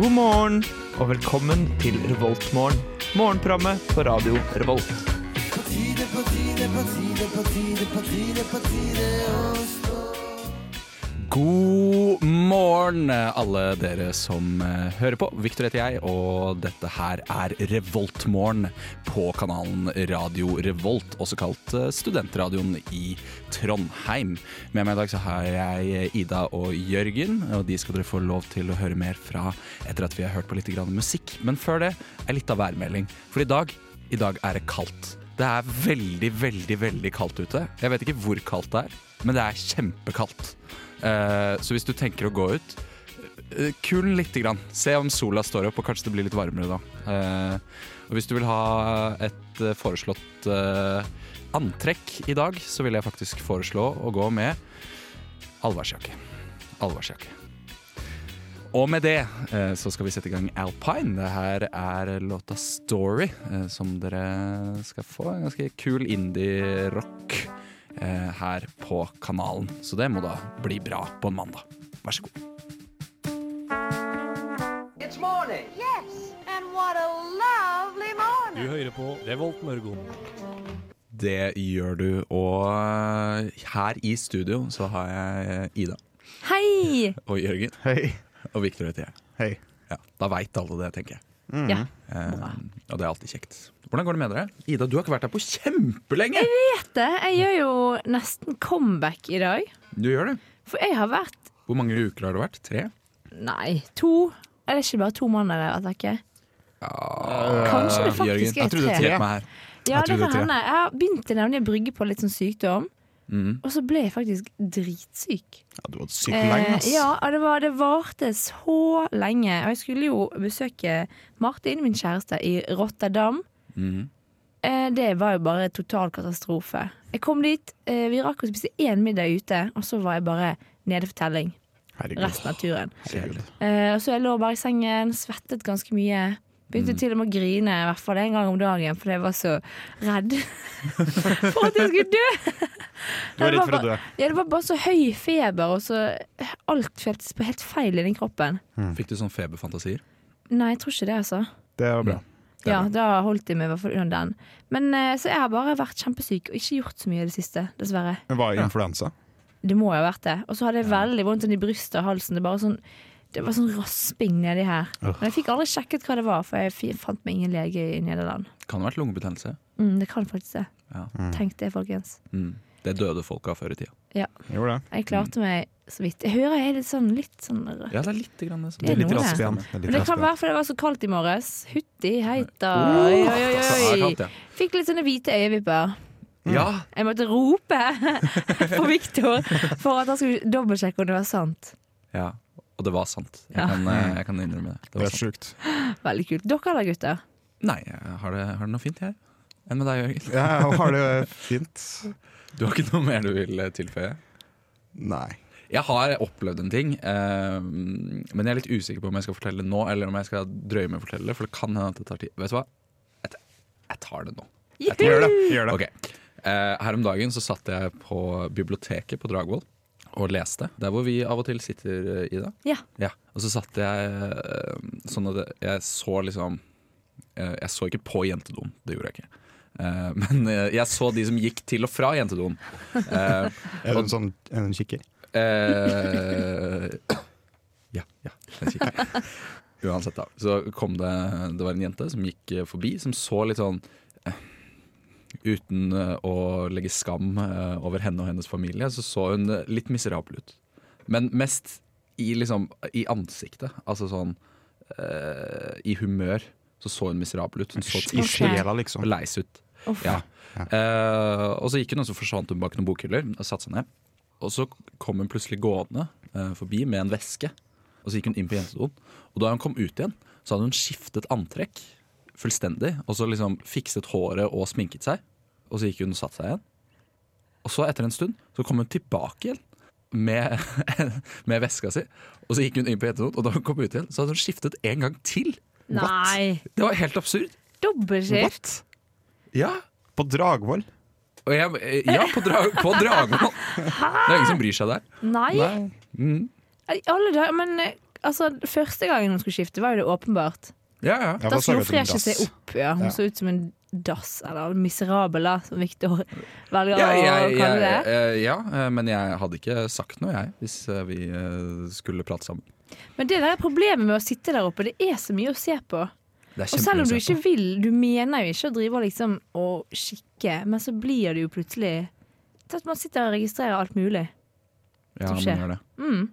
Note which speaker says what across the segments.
Speaker 1: God morgen og velkommen til Revoltmorgen. Morgenprogrammet på radio Revolt.
Speaker 2: God morgen, alle dere som eh, hører på. Victor heter jeg, og dette her er Revoltmorgen på kanalen Radio Revolt, også kalt eh, studentradioen i Trondheim. Med meg i dag så har jeg Ida og Jørgen, og de skal dere få lov til å høre mer fra etter at vi har hørt på litt grann musikk. Men før det er litt av værmelding, for i dag, i dag er det kaldt. Det er veldig, veldig, veldig kaldt ute. Jeg vet ikke hvor kaldt det er, men det er kjempekaldt. Eh, så hvis du tenker å gå ut, eh, kul lite grann. Se om sola står opp, og kanskje det blir litt varmere da. Eh, og hvis du vil ha et eh, foreslått eh, antrekk i dag, så vil jeg faktisk foreslå å gå med allværsjakke. Allværsjakke. Og med det eh, så skal vi sette i gang Alpine. Det her er låta 'Story', eh, som dere skal få. En ganske kul indie-rock eh, her på kanalen. Så det må da bli bra på en mandag. Vær så god.
Speaker 3: It's morning.
Speaker 4: Yes, and what a lovely morning.
Speaker 5: Du hører på Revolt Mørgon.
Speaker 2: Det gjør du. Og eh, her i studio så har jeg Ida
Speaker 6: Hei!
Speaker 2: og Jørgen.
Speaker 1: Hei.
Speaker 2: Og Victor heter jeg.
Speaker 1: Hei.
Speaker 2: Ja, da veit alle det, tenker jeg.
Speaker 6: Ja,
Speaker 2: Eh, og det er alltid kjekt. Hvordan går det med dere? Ida, du har ikke vært her på kjempelenge!
Speaker 6: dette, jeg gjør jo nesten comeback i dag.
Speaker 2: Du gjør det.
Speaker 6: For jeg har vært
Speaker 2: Hvor mange uker har det vært? Tre?
Speaker 6: Nei, to. Er det ikke bare to måneder jeg har vært vekke? Eh, Kanskje det faktisk
Speaker 2: Ah, jeg
Speaker 6: er
Speaker 2: trodde
Speaker 6: tre.
Speaker 2: tre meg her.
Speaker 6: Ja,
Speaker 2: jeg
Speaker 6: det
Speaker 2: trodde
Speaker 6: kan
Speaker 2: tre.
Speaker 6: hende. Jeg har begynt til nemlig å brygge på litt sånn sykdom. Og så ble jeg faktisk dritsyk.
Speaker 7: Ja, du var sykt lenge, ass.
Speaker 6: Eh, ja, og det, var, det varte så lenge. Og jeg skulle jo besøke Martin, min kjæreste, i Rotterdam.
Speaker 7: Mhm.
Speaker 6: Eh, det var jo bare total katastrofe. Jeg kom dit, eh, vi rakk å spise én middag ute, og så var jeg bare nede for telling
Speaker 7: Herregud.
Speaker 6: resten av turen.
Speaker 7: Herregud.
Speaker 6: Eh, og så jeg lå bare i sengen, svettet ganske mye.
Speaker 7: Mhm.
Speaker 6: Begynte til og med å grine, i hvert fall en gang om dagen, fordi jeg var så redd for at jeg skulle dø.
Speaker 7: Du var
Speaker 6: Det
Speaker 7: redd for å
Speaker 6: bare-
Speaker 7: dø.
Speaker 6: Ja, det var bare så høy feber, og så alt føltes på helt feil i den kroppen.
Speaker 7: Mm.
Speaker 2: Fikk du sånn feberfantasier?
Speaker 6: Nei, jeg tror ikke det, altså.
Speaker 7: Det var bra.
Speaker 6: Ja, da holdt jeg meg i hvert fall unna den. Men eh, så jeg har bare vært kjempesyk og ikke gjort så mye i det siste, dessverre.
Speaker 7: Men var det influensa?
Speaker 6: Det må jo ha vært det. Og så hadde jeg veldig vondt sånn i brystet og halsen. Det, bare sånn, det var sånn rasping nedi her. Men jeg fikk aldri sjekket hva det var, for jeg fi- fant meg ingen lege i Nederland.
Speaker 2: Kan ha vært lungebetennelse.
Speaker 6: Mm, det kan faktisk det.
Speaker 2: Ja.
Speaker 6: Tenk det, folkens.
Speaker 2: Mm. Det døde folk av før i tida.
Speaker 7: Gjorde det.
Speaker 6: Jeg klarte meg så vidt. Jeg hører jeg er litt sånn, litt sånn rødt.
Speaker 2: Ja, det er litt grann det. som-
Speaker 6: Det er
Speaker 7: Litt
Speaker 6: noe,
Speaker 7: rasp igjen. er litt
Speaker 6: Men det
Speaker 7: rasp
Speaker 6: kan
Speaker 7: igjen.
Speaker 6: være fordi det var så kaldt i morges. Hutti, heita. Oi, oi,
Speaker 2: Ja, Oh, det
Speaker 6: oi,
Speaker 2: er
Speaker 6: oi.
Speaker 2: kaldt,
Speaker 6: Fikk litt sånne hvite øyevipper.
Speaker 2: ja. ja,
Speaker 6: Jeg måtte rope for Viktor for at han skulle dobbeltsjekke om det var sant.
Speaker 2: Ja, og det var sant. Jeg,
Speaker 6: Ja.
Speaker 2: kan, eh, jeg kan innrømme det.
Speaker 7: Det
Speaker 2: var
Speaker 7: er
Speaker 2: sant.
Speaker 7: sjukt.
Speaker 6: Veldig kult. Dere da, gutter?
Speaker 2: Nei, jeg har det, har det noe fint, jeg. Enn med deg, Jørgen?
Speaker 7: Ja, jeg har det fint.
Speaker 2: Du har ikke noe mer du vil eh, tilføye?
Speaker 7: Nei.
Speaker 2: Jeg har opplevd en ting, eh, men jeg er litt usikker på om jeg skal fortelle det nå, eller om jeg skal drøye med å fortelle det, for det kan hende at det tar tid. Vet du hva? Jeg, jeg tar det nå.
Speaker 7: Gjør det. Gjør det.
Speaker 2: Ok. Eh, her om dagen så satt jeg på biblioteket på Dragvoll og leste. Der hvor vi av og til sitter, eh, Ida.
Speaker 6: Ja.
Speaker 2: Og så satt jeg eh, sånn at jeg så liksom eh, Jeg så ikke på jentedoen, det gjorde jeg ikke. Eh, men eh, jeg så de som gikk til og fra jentedoen. Eh,
Speaker 7: Er du en sånn en kikker?
Speaker 2: Eh, ja, ja, jeg kikker. Uansett, da. Så kom det Det var en jente som gikk eh, forbi, som så litt sånn eh, Uten eh, å legge skam eh, over henne og hennes familie, så så hun eh, litt miserabel ut. Men mest i, liksom, i ansiktet. Altså sånn eh, I humør så så hun miserabel ut. Hun så
Speaker 7: I
Speaker 6: Ok.
Speaker 7: sjela,
Speaker 2: og
Speaker 7: liksom.
Speaker 2: lei seg ut.
Speaker 6: Uff.
Speaker 2: Ja. Eh, og så gikk hun, og så forsvant hun bak noen bokhyller og satte seg ned. Og så kom hun plutselig gående eh, forbi med en veske. Og så gikk hun inn på jentedoen. Og da hun kom ut igjen, så hadde hun skiftet antrekk fullstendig. Og så liksom fikset håret og sminket seg. Og så gikk hun og satte seg igjen. Og så etter en stund så kom hun tilbake igjen med, med veska si. Og så gikk hun inn på jentedoen, og da hun kom ut igjen, så hadde hun skiftet en gang til.
Speaker 6: Nei.
Speaker 2: Det var helt absurd.
Speaker 6: Dobbeltskift?
Speaker 2: Ja,
Speaker 7: På Dragvoll.
Speaker 2: Og jeg, eh, ja, på, dra, på Dragvoll. Det er ingen som bryr seg der.
Speaker 6: Nei.
Speaker 2: Mm.
Speaker 6: I alle dager, men eh, altså, første gangen hun skulle skifte, var jo det åpenbart.
Speaker 2: Ja, ja.
Speaker 7: Ja,
Speaker 6: Da
Speaker 7: hva sa
Speaker 6: slo
Speaker 7: du til
Speaker 6: Fresje
Speaker 7: dass?
Speaker 6: seg opp. Ja. Hun
Speaker 7: Ja.
Speaker 6: så ut som en dass, eller miserabel, da, som Victor velger
Speaker 2: Ja,
Speaker 6: å
Speaker 2: jeg,
Speaker 6: kalle
Speaker 2: jeg,
Speaker 6: det.
Speaker 2: eh, ja, eh, men jeg hadde ikke sagt noe, jeg, hvis eh, vi eh, skulle prate sammen.
Speaker 6: Men det der er problemet med å sitte der oppe. Det er så mye å se på.
Speaker 2: Det er
Speaker 6: Og selv om du
Speaker 2: kjempemye å se
Speaker 6: ikke vil, du mener jo ikke å drive og liksom å kikke, men så blir det jo plutselig til at man sitter og registrerer alt mulig.
Speaker 2: på. ja,
Speaker 6: Mm. som
Speaker 2: man
Speaker 6: skjer.
Speaker 2: gjør det.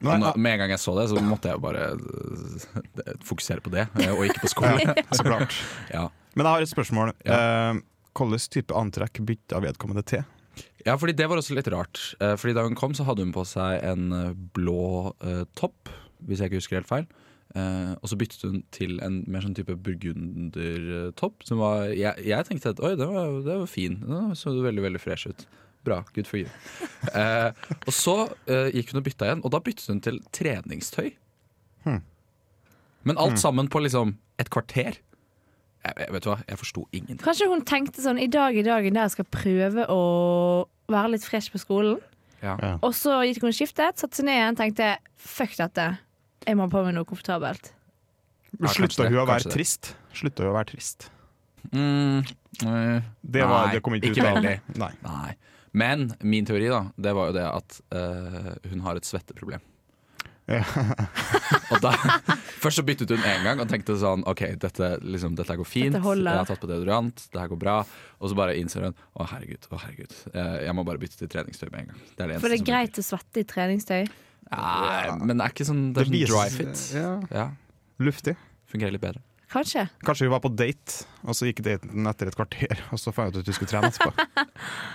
Speaker 7: Nei,
Speaker 2: Nå- Med en gang jeg så det, så måtte jeg bare eh, fokusere på det, eh, og ikke på skole.
Speaker 7: ja, så klart.
Speaker 2: Ja.
Speaker 7: Men jeg har et spørsmål. Eh, Hvilken type antrekk bytta vedkommende til?
Speaker 2: Ja, fordi det var også litt rart. Eh, Fordi Da hun kom, så hadde hun på seg en eh, blå eh, topp, hvis jeg ikke husker helt feil. Eh, og så byttet hun til en mer sånn type burgundertopp. Som var, jeg, jeg tenkte at oi, den var, den var fin. Den så veldig veldig fresh ut. Bra. Good for you. Eh, og så eh, gikk hun og bytta igjen, og da byttet hun til treningstøy. Men alt sammen på liksom et kvarter. Jeg, jeg, vet du hva, jeg forsto ingenting.
Speaker 6: Kanskje hun tenkte sånn i dag i dagen der jeg skal prøve å være litt fresh på skolen.
Speaker 2: Ja.
Speaker 7: Ja.
Speaker 6: Og så gikk hun og skiftet, satte seg ned igjen, tenkte fuck dette. Jeg må ha på meg noe komfortabelt.
Speaker 2: Ja, kanskje
Speaker 7: Slutta
Speaker 2: det,
Speaker 7: hun å
Speaker 2: kanskje
Speaker 7: være
Speaker 2: det.
Speaker 7: trist? Slutta hun å være trist?
Speaker 2: Mm, eh,
Speaker 7: Det, var,
Speaker 2: Nei,
Speaker 7: det kom ikke,
Speaker 2: ikke
Speaker 7: ut av
Speaker 2: veldig.
Speaker 7: Nei.
Speaker 2: Nei. Men min teori da, det var jo det at eh, hun har et svetteproblem.
Speaker 7: Ja.
Speaker 2: og da, først så byttet hun en gang og tenkte sånn OK, dette, liksom, dette her går fint.
Speaker 6: Dette holder.
Speaker 2: Jeg har tatt på deodorant, det her går bra. Og så bare innser hun å herregud, å herregud. eh, jeg må bare bytte til treningstøy med en gang. Det er det eneste
Speaker 6: For det er
Speaker 2: som
Speaker 6: greit å svette i treningstøy.
Speaker 2: funker. Nei, men det er ikke sånn, det er sånn
Speaker 7: vises-
Speaker 2: dry fit. Ja.
Speaker 7: Ja, luftig.
Speaker 2: Fungerer litt bedre.
Speaker 6: Kanskje.
Speaker 7: Kanskje hun var på date, og så gikk daten etter et kvarter, og så fant hun ut at hun skulle trene etterpå.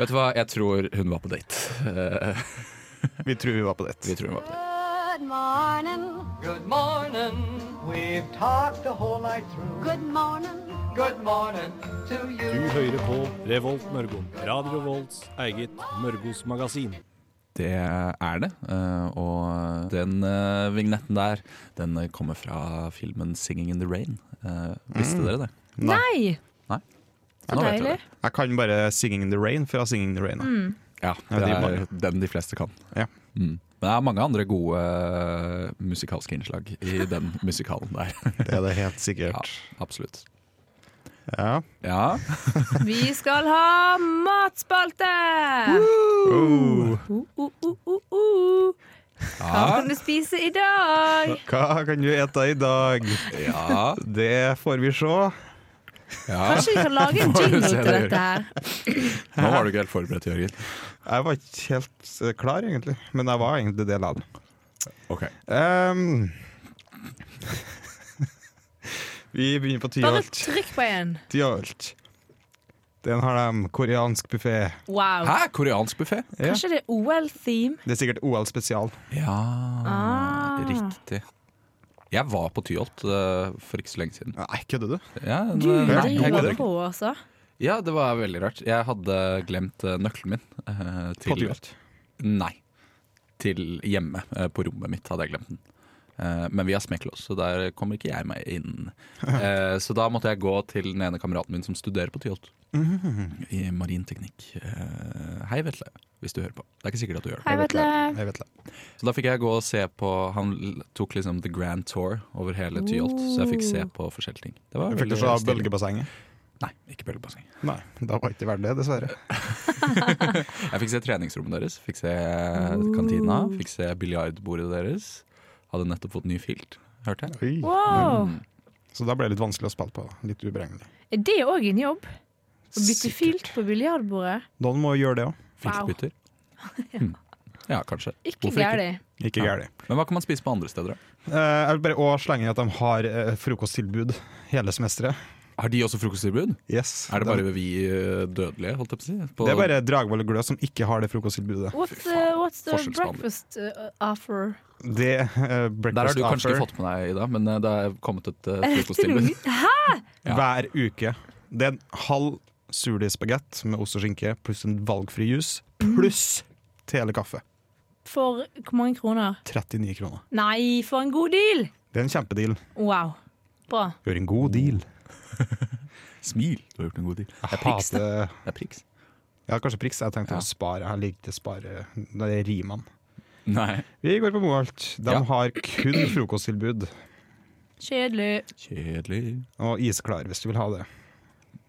Speaker 2: Vet du hva, jeg tror hun var på date. Eh,
Speaker 7: Vi tror hun var på date.
Speaker 2: vi tror hun var på date.
Speaker 4: Good morning.
Speaker 3: Good morning. We've talked the whole night through.
Speaker 4: Good morning.
Speaker 3: Good morning to you.
Speaker 5: Du hører på Revolt Mørgo. Radio Revolts eget Mørgos magasin.
Speaker 2: Det er det. eh, Og den eh, vignetten der, den eh, kommer fra filmen 'Singing in the Rain'. Eh, Visste dere det?
Speaker 6: Nei! Så
Speaker 2: Nå vet dere
Speaker 6: deilig.
Speaker 2: det.
Speaker 7: Jeg kan bare 'Singing in the Rain' fra 'Singing in the Rain'. da.
Speaker 2: Ja,
Speaker 7: Ja,
Speaker 2: det
Speaker 7: de
Speaker 2: er
Speaker 7: mange.
Speaker 2: den de fleste kan.
Speaker 7: Ja.
Speaker 2: Mm. Men det er mange andre gode eh, musikalske innslag i den musikalen der.
Speaker 7: Det er det helt
Speaker 2: Ja,
Speaker 7: sikkert.
Speaker 2: absolutt.
Speaker 7: Ja.
Speaker 2: Ja,
Speaker 6: Vi skal ha matspalte!
Speaker 7: Oh.
Speaker 6: Uh, uh, uh, uh, uh. Hva
Speaker 2: ja,
Speaker 6: kan du spise i dag?
Speaker 7: Hva kan du ete i dag?
Speaker 2: ja,
Speaker 7: Det får vi se.
Speaker 2: ja.
Speaker 6: Kanskje vi kan lage en
Speaker 2: Får du
Speaker 6: jingle
Speaker 2: se
Speaker 6: til
Speaker 2: det,
Speaker 6: dette her?
Speaker 2: Nå var du ikke helt forberedt, Jørgen.
Speaker 7: Jeg var ikke helt eh, klar, egentlig, men jeg var egentlig del av det.
Speaker 2: Ok.
Speaker 7: Ehm. vi begynner på
Speaker 6: Bare
Speaker 7: Tyholt.
Speaker 6: trykk på en.
Speaker 7: Tyholt. Den har de. Koreansk buffé.
Speaker 6: Wow.
Speaker 2: Hæ, koreansk buffé?
Speaker 7: Ja.
Speaker 6: Kanskje det er OL-theme?
Speaker 7: Det er sikkert OL spesial.
Speaker 2: Ja,
Speaker 6: Ah.
Speaker 2: riktig. Jeg var på Tyholt eh, for ikke så lenge siden.
Speaker 7: Nei, kødder du?
Speaker 2: Ja,
Speaker 6: Du
Speaker 2: det- nei, jeg
Speaker 6: driver
Speaker 2: kødder ikke.
Speaker 6: på, altså.
Speaker 2: Ja, det var veldig rart. Jeg hadde glemt eh, nøkkelen min. eh,
Speaker 7: På Tyholt.
Speaker 2: Nei. Til hjemme. eh, På rommet mitt hadde jeg glemt den. Eh, Men vi har smekklås, så der kommer ikke jeg meg inn. Eh, Så da måtte jeg gå til den ene kameraten min som studerer på Tyholt.
Speaker 7: Mhm.
Speaker 2: I marinteknikk. Eh, Hei, Vetle, hvis du hører på. Det er ikke sikkert at du gjør det.
Speaker 6: Hei, Vetle.
Speaker 7: Jeg vet det.
Speaker 2: Så da fikk jeg gå og se på Han l- tok liksom the grand tour over hele Tyholt, så jeg fikk se på forskjellige ting. Det var
Speaker 7: Jeg fikk
Speaker 2: veldig
Speaker 7: det fra
Speaker 2: stilig.
Speaker 7: bølgebassenget.
Speaker 2: Nei, ikke bølgebasseng.
Speaker 7: Nei, da var ikke verdt det, dessverre.
Speaker 2: Jeg fikk se treningsrommet deres, fikk se kantina, fikk se biljardbordet deres. Hadde nettopp fått ny filt, hørte jeg.
Speaker 7: Oi.
Speaker 6: Wow.
Speaker 2: Mm.
Speaker 7: Så da ble det litt vanskelig å spille på. Litt uberegnelig.
Speaker 6: Er det òg en jobb? Å bytte filt på biljardbordet?
Speaker 7: Noen må gjøre det òg.
Speaker 6: Wow.
Speaker 2: Filtbytter. Hmm. Ja, kanskje.
Speaker 6: Ikke
Speaker 2: Hvorfor ikke?
Speaker 6: gærent.
Speaker 7: Ikke
Speaker 2: Ja.
Speaker 7: gærent.
Speaker 2: Men hva kan man spise på andre steder? da?
Speaker 7: Eh, jeg vil bare også slenge inn at de har eh, frokosttilbud hele semesteret.
Speaker 2: Har de også frokosttilbud?
Speaker 7: Yes.
Speaker 2: Er det bare vi eh, dødelige, holdt jeg på å si? På
Speaker 7: det er bare Dragvoll og Glø som ikke har det frokosttilbudet.
Speaker 6: What's,
Speaker 2: Fy faen.
Speaker 6: uh, what's the
Speaker 2: Forskjellsbehandling.
Speaker 6: breakfast uh, offer?
Speaker 7: Det eh, breakfast
Speaker 2: der har du kanskje ikke
Speaker 7: offer
Speaker 2: fått med deg, Ida, men eh, det er kommet et eh,
Speaker 6: Er dette noe
Speaker 2: frokosttilbud.
Speaker 6: nytt? Hæ?
Speaker 2: Ja.
Speaker 7: hver uke. Det er en halv surdeigsbagett med ost og skinke pluss en valgfri jus
Speaker 2: Mm.
Speaker 7: pluss tele kaffe.
Speaker 6: For hvor mange kroner?
Speaker 7: 39 kroner.
Speaker 6: Nei, for en god deal!
Speaker 7: Det er en kjempedeal.
Speaker 6: Wow. Bra.
Speaker 7: Gjør en god deal.
Speaker 2: Smil, du har gjort en god deal. Det er priks, det.
Speaker 7: Hater
Speaker 2: det er priks.
Speaker 7: Ja, kanskje priks. Jeg tenkte
Speaker 2: Ja.
Speaker 7: å spare. Jeg likte å spare Det er Riman.
Speaker 2: Nei.
Speaker 7: Vi går på Moholt. De
Speaker 2: Ja.
Speaker 7: har kun frokosttilbud
Speaker 6: Kjedelig.
Speaker 2: Kjedelig.
Speaker 7: og isklar hvis du vil ha det.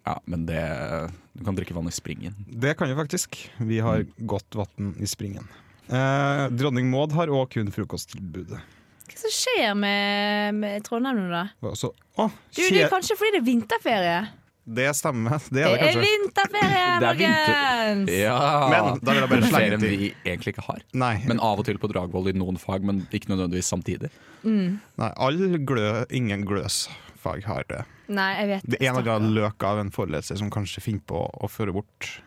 Speaker 2: Ja, men det eh, Du kan drikke vann i springen.
Speaker 7: Det kan vi faktisk. Vi har
Speaker 2: Mm.
Speaker 7: godt vann i springen. Eh, Dronning Maud har òg kun frokosttilbudet.
Speaker 6: Hva som skjer med, med Trondheim nå, da?
Speaker 7: Og så- Å,
Speaker 6: Du, det
Speaker 7: kje-
Speaker 6: er kanskje fordi det er vinterferie?
Speaker 7: det stemmer. Det
Speaker 6: Det
Speaker 7: er det
Speaker 6: er
Speaker 7: kanskje.
Speaker 6: vinterferie,
Speaker 2: Det er vinter.
Speaker 6: folkens!
Speaker 2: Ja.
Speaker 7: Men da vil jeg bare
Speaker 2: Men
Speaker 7: slenge
Speaker 2: flere enn
Speaker 7: til-
Speaker 2: vi egentlig ikke har.
Speaker 7: Nei,
Speaker 2: Men av og til på Dragvoll i noen fag, men ikke nødvendigvis samtidig.
Speaker 7: nei all glø, ingen gløsfag har det.
Speaker 6: Nei, jeg vet
Speaker 7: Det er en eller
Speaker 6: stakkars.
Speaker 7: annen løk av en foreleser som kanskje finner på å føre bort.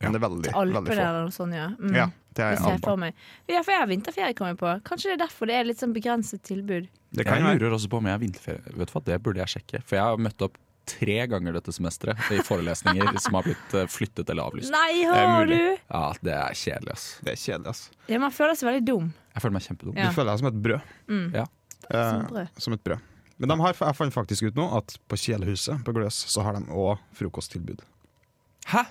Speaker 7: Men det er veldig, veldig
Speaker 6: Alpene
Speaker 7: få.
Speaker 6: eller noe sånt, ja. Mm.
Speaker 7: Ja, det,
Speaker 6: Det
Speaker 7: er
Speaker 6: ser jeg
Speaker 7: Alpa.
Speaker 6: for meg. Ja, for jeg har vinterferie, kom jeg på. Kanskje det er derfor det er litt sånn begrenset tilbud.
Speaker 7: det
Speaker 2: Jeg
Speaker 7: kan være.
Speaker 2: lurer også på om jeg har vinterferie. Vet du hva, Det burde jeg sjekke. For jeg har møtt opp tre ganger dette semesteret i forelesninger som har blitt eh, flyttet eller avlyst.
Speaker 6: Nei, har du?
Speaker 7: mulig.
Speaker 2: Ja, Det er kjedelig, ass.
Speaker 7: Det er kjedelig, altså.
Speaker 6: Ja, man føler seg veldig dum.
Speaker 2: Jeg føler meg kjempedum.
Speaker 6: Ja. Mm.
Speaker 7: Du føler deg som et brød.
Speaker 2: Ja.
Speaker 7: Eh,
Speaker 6: Som brød.
Speaker 7: som et brød. Men de har, jeg fant faktisk ut nå at på Kjelehuset på Gløs så har de òg frokosttilbud.
Speaker 2: Hæ?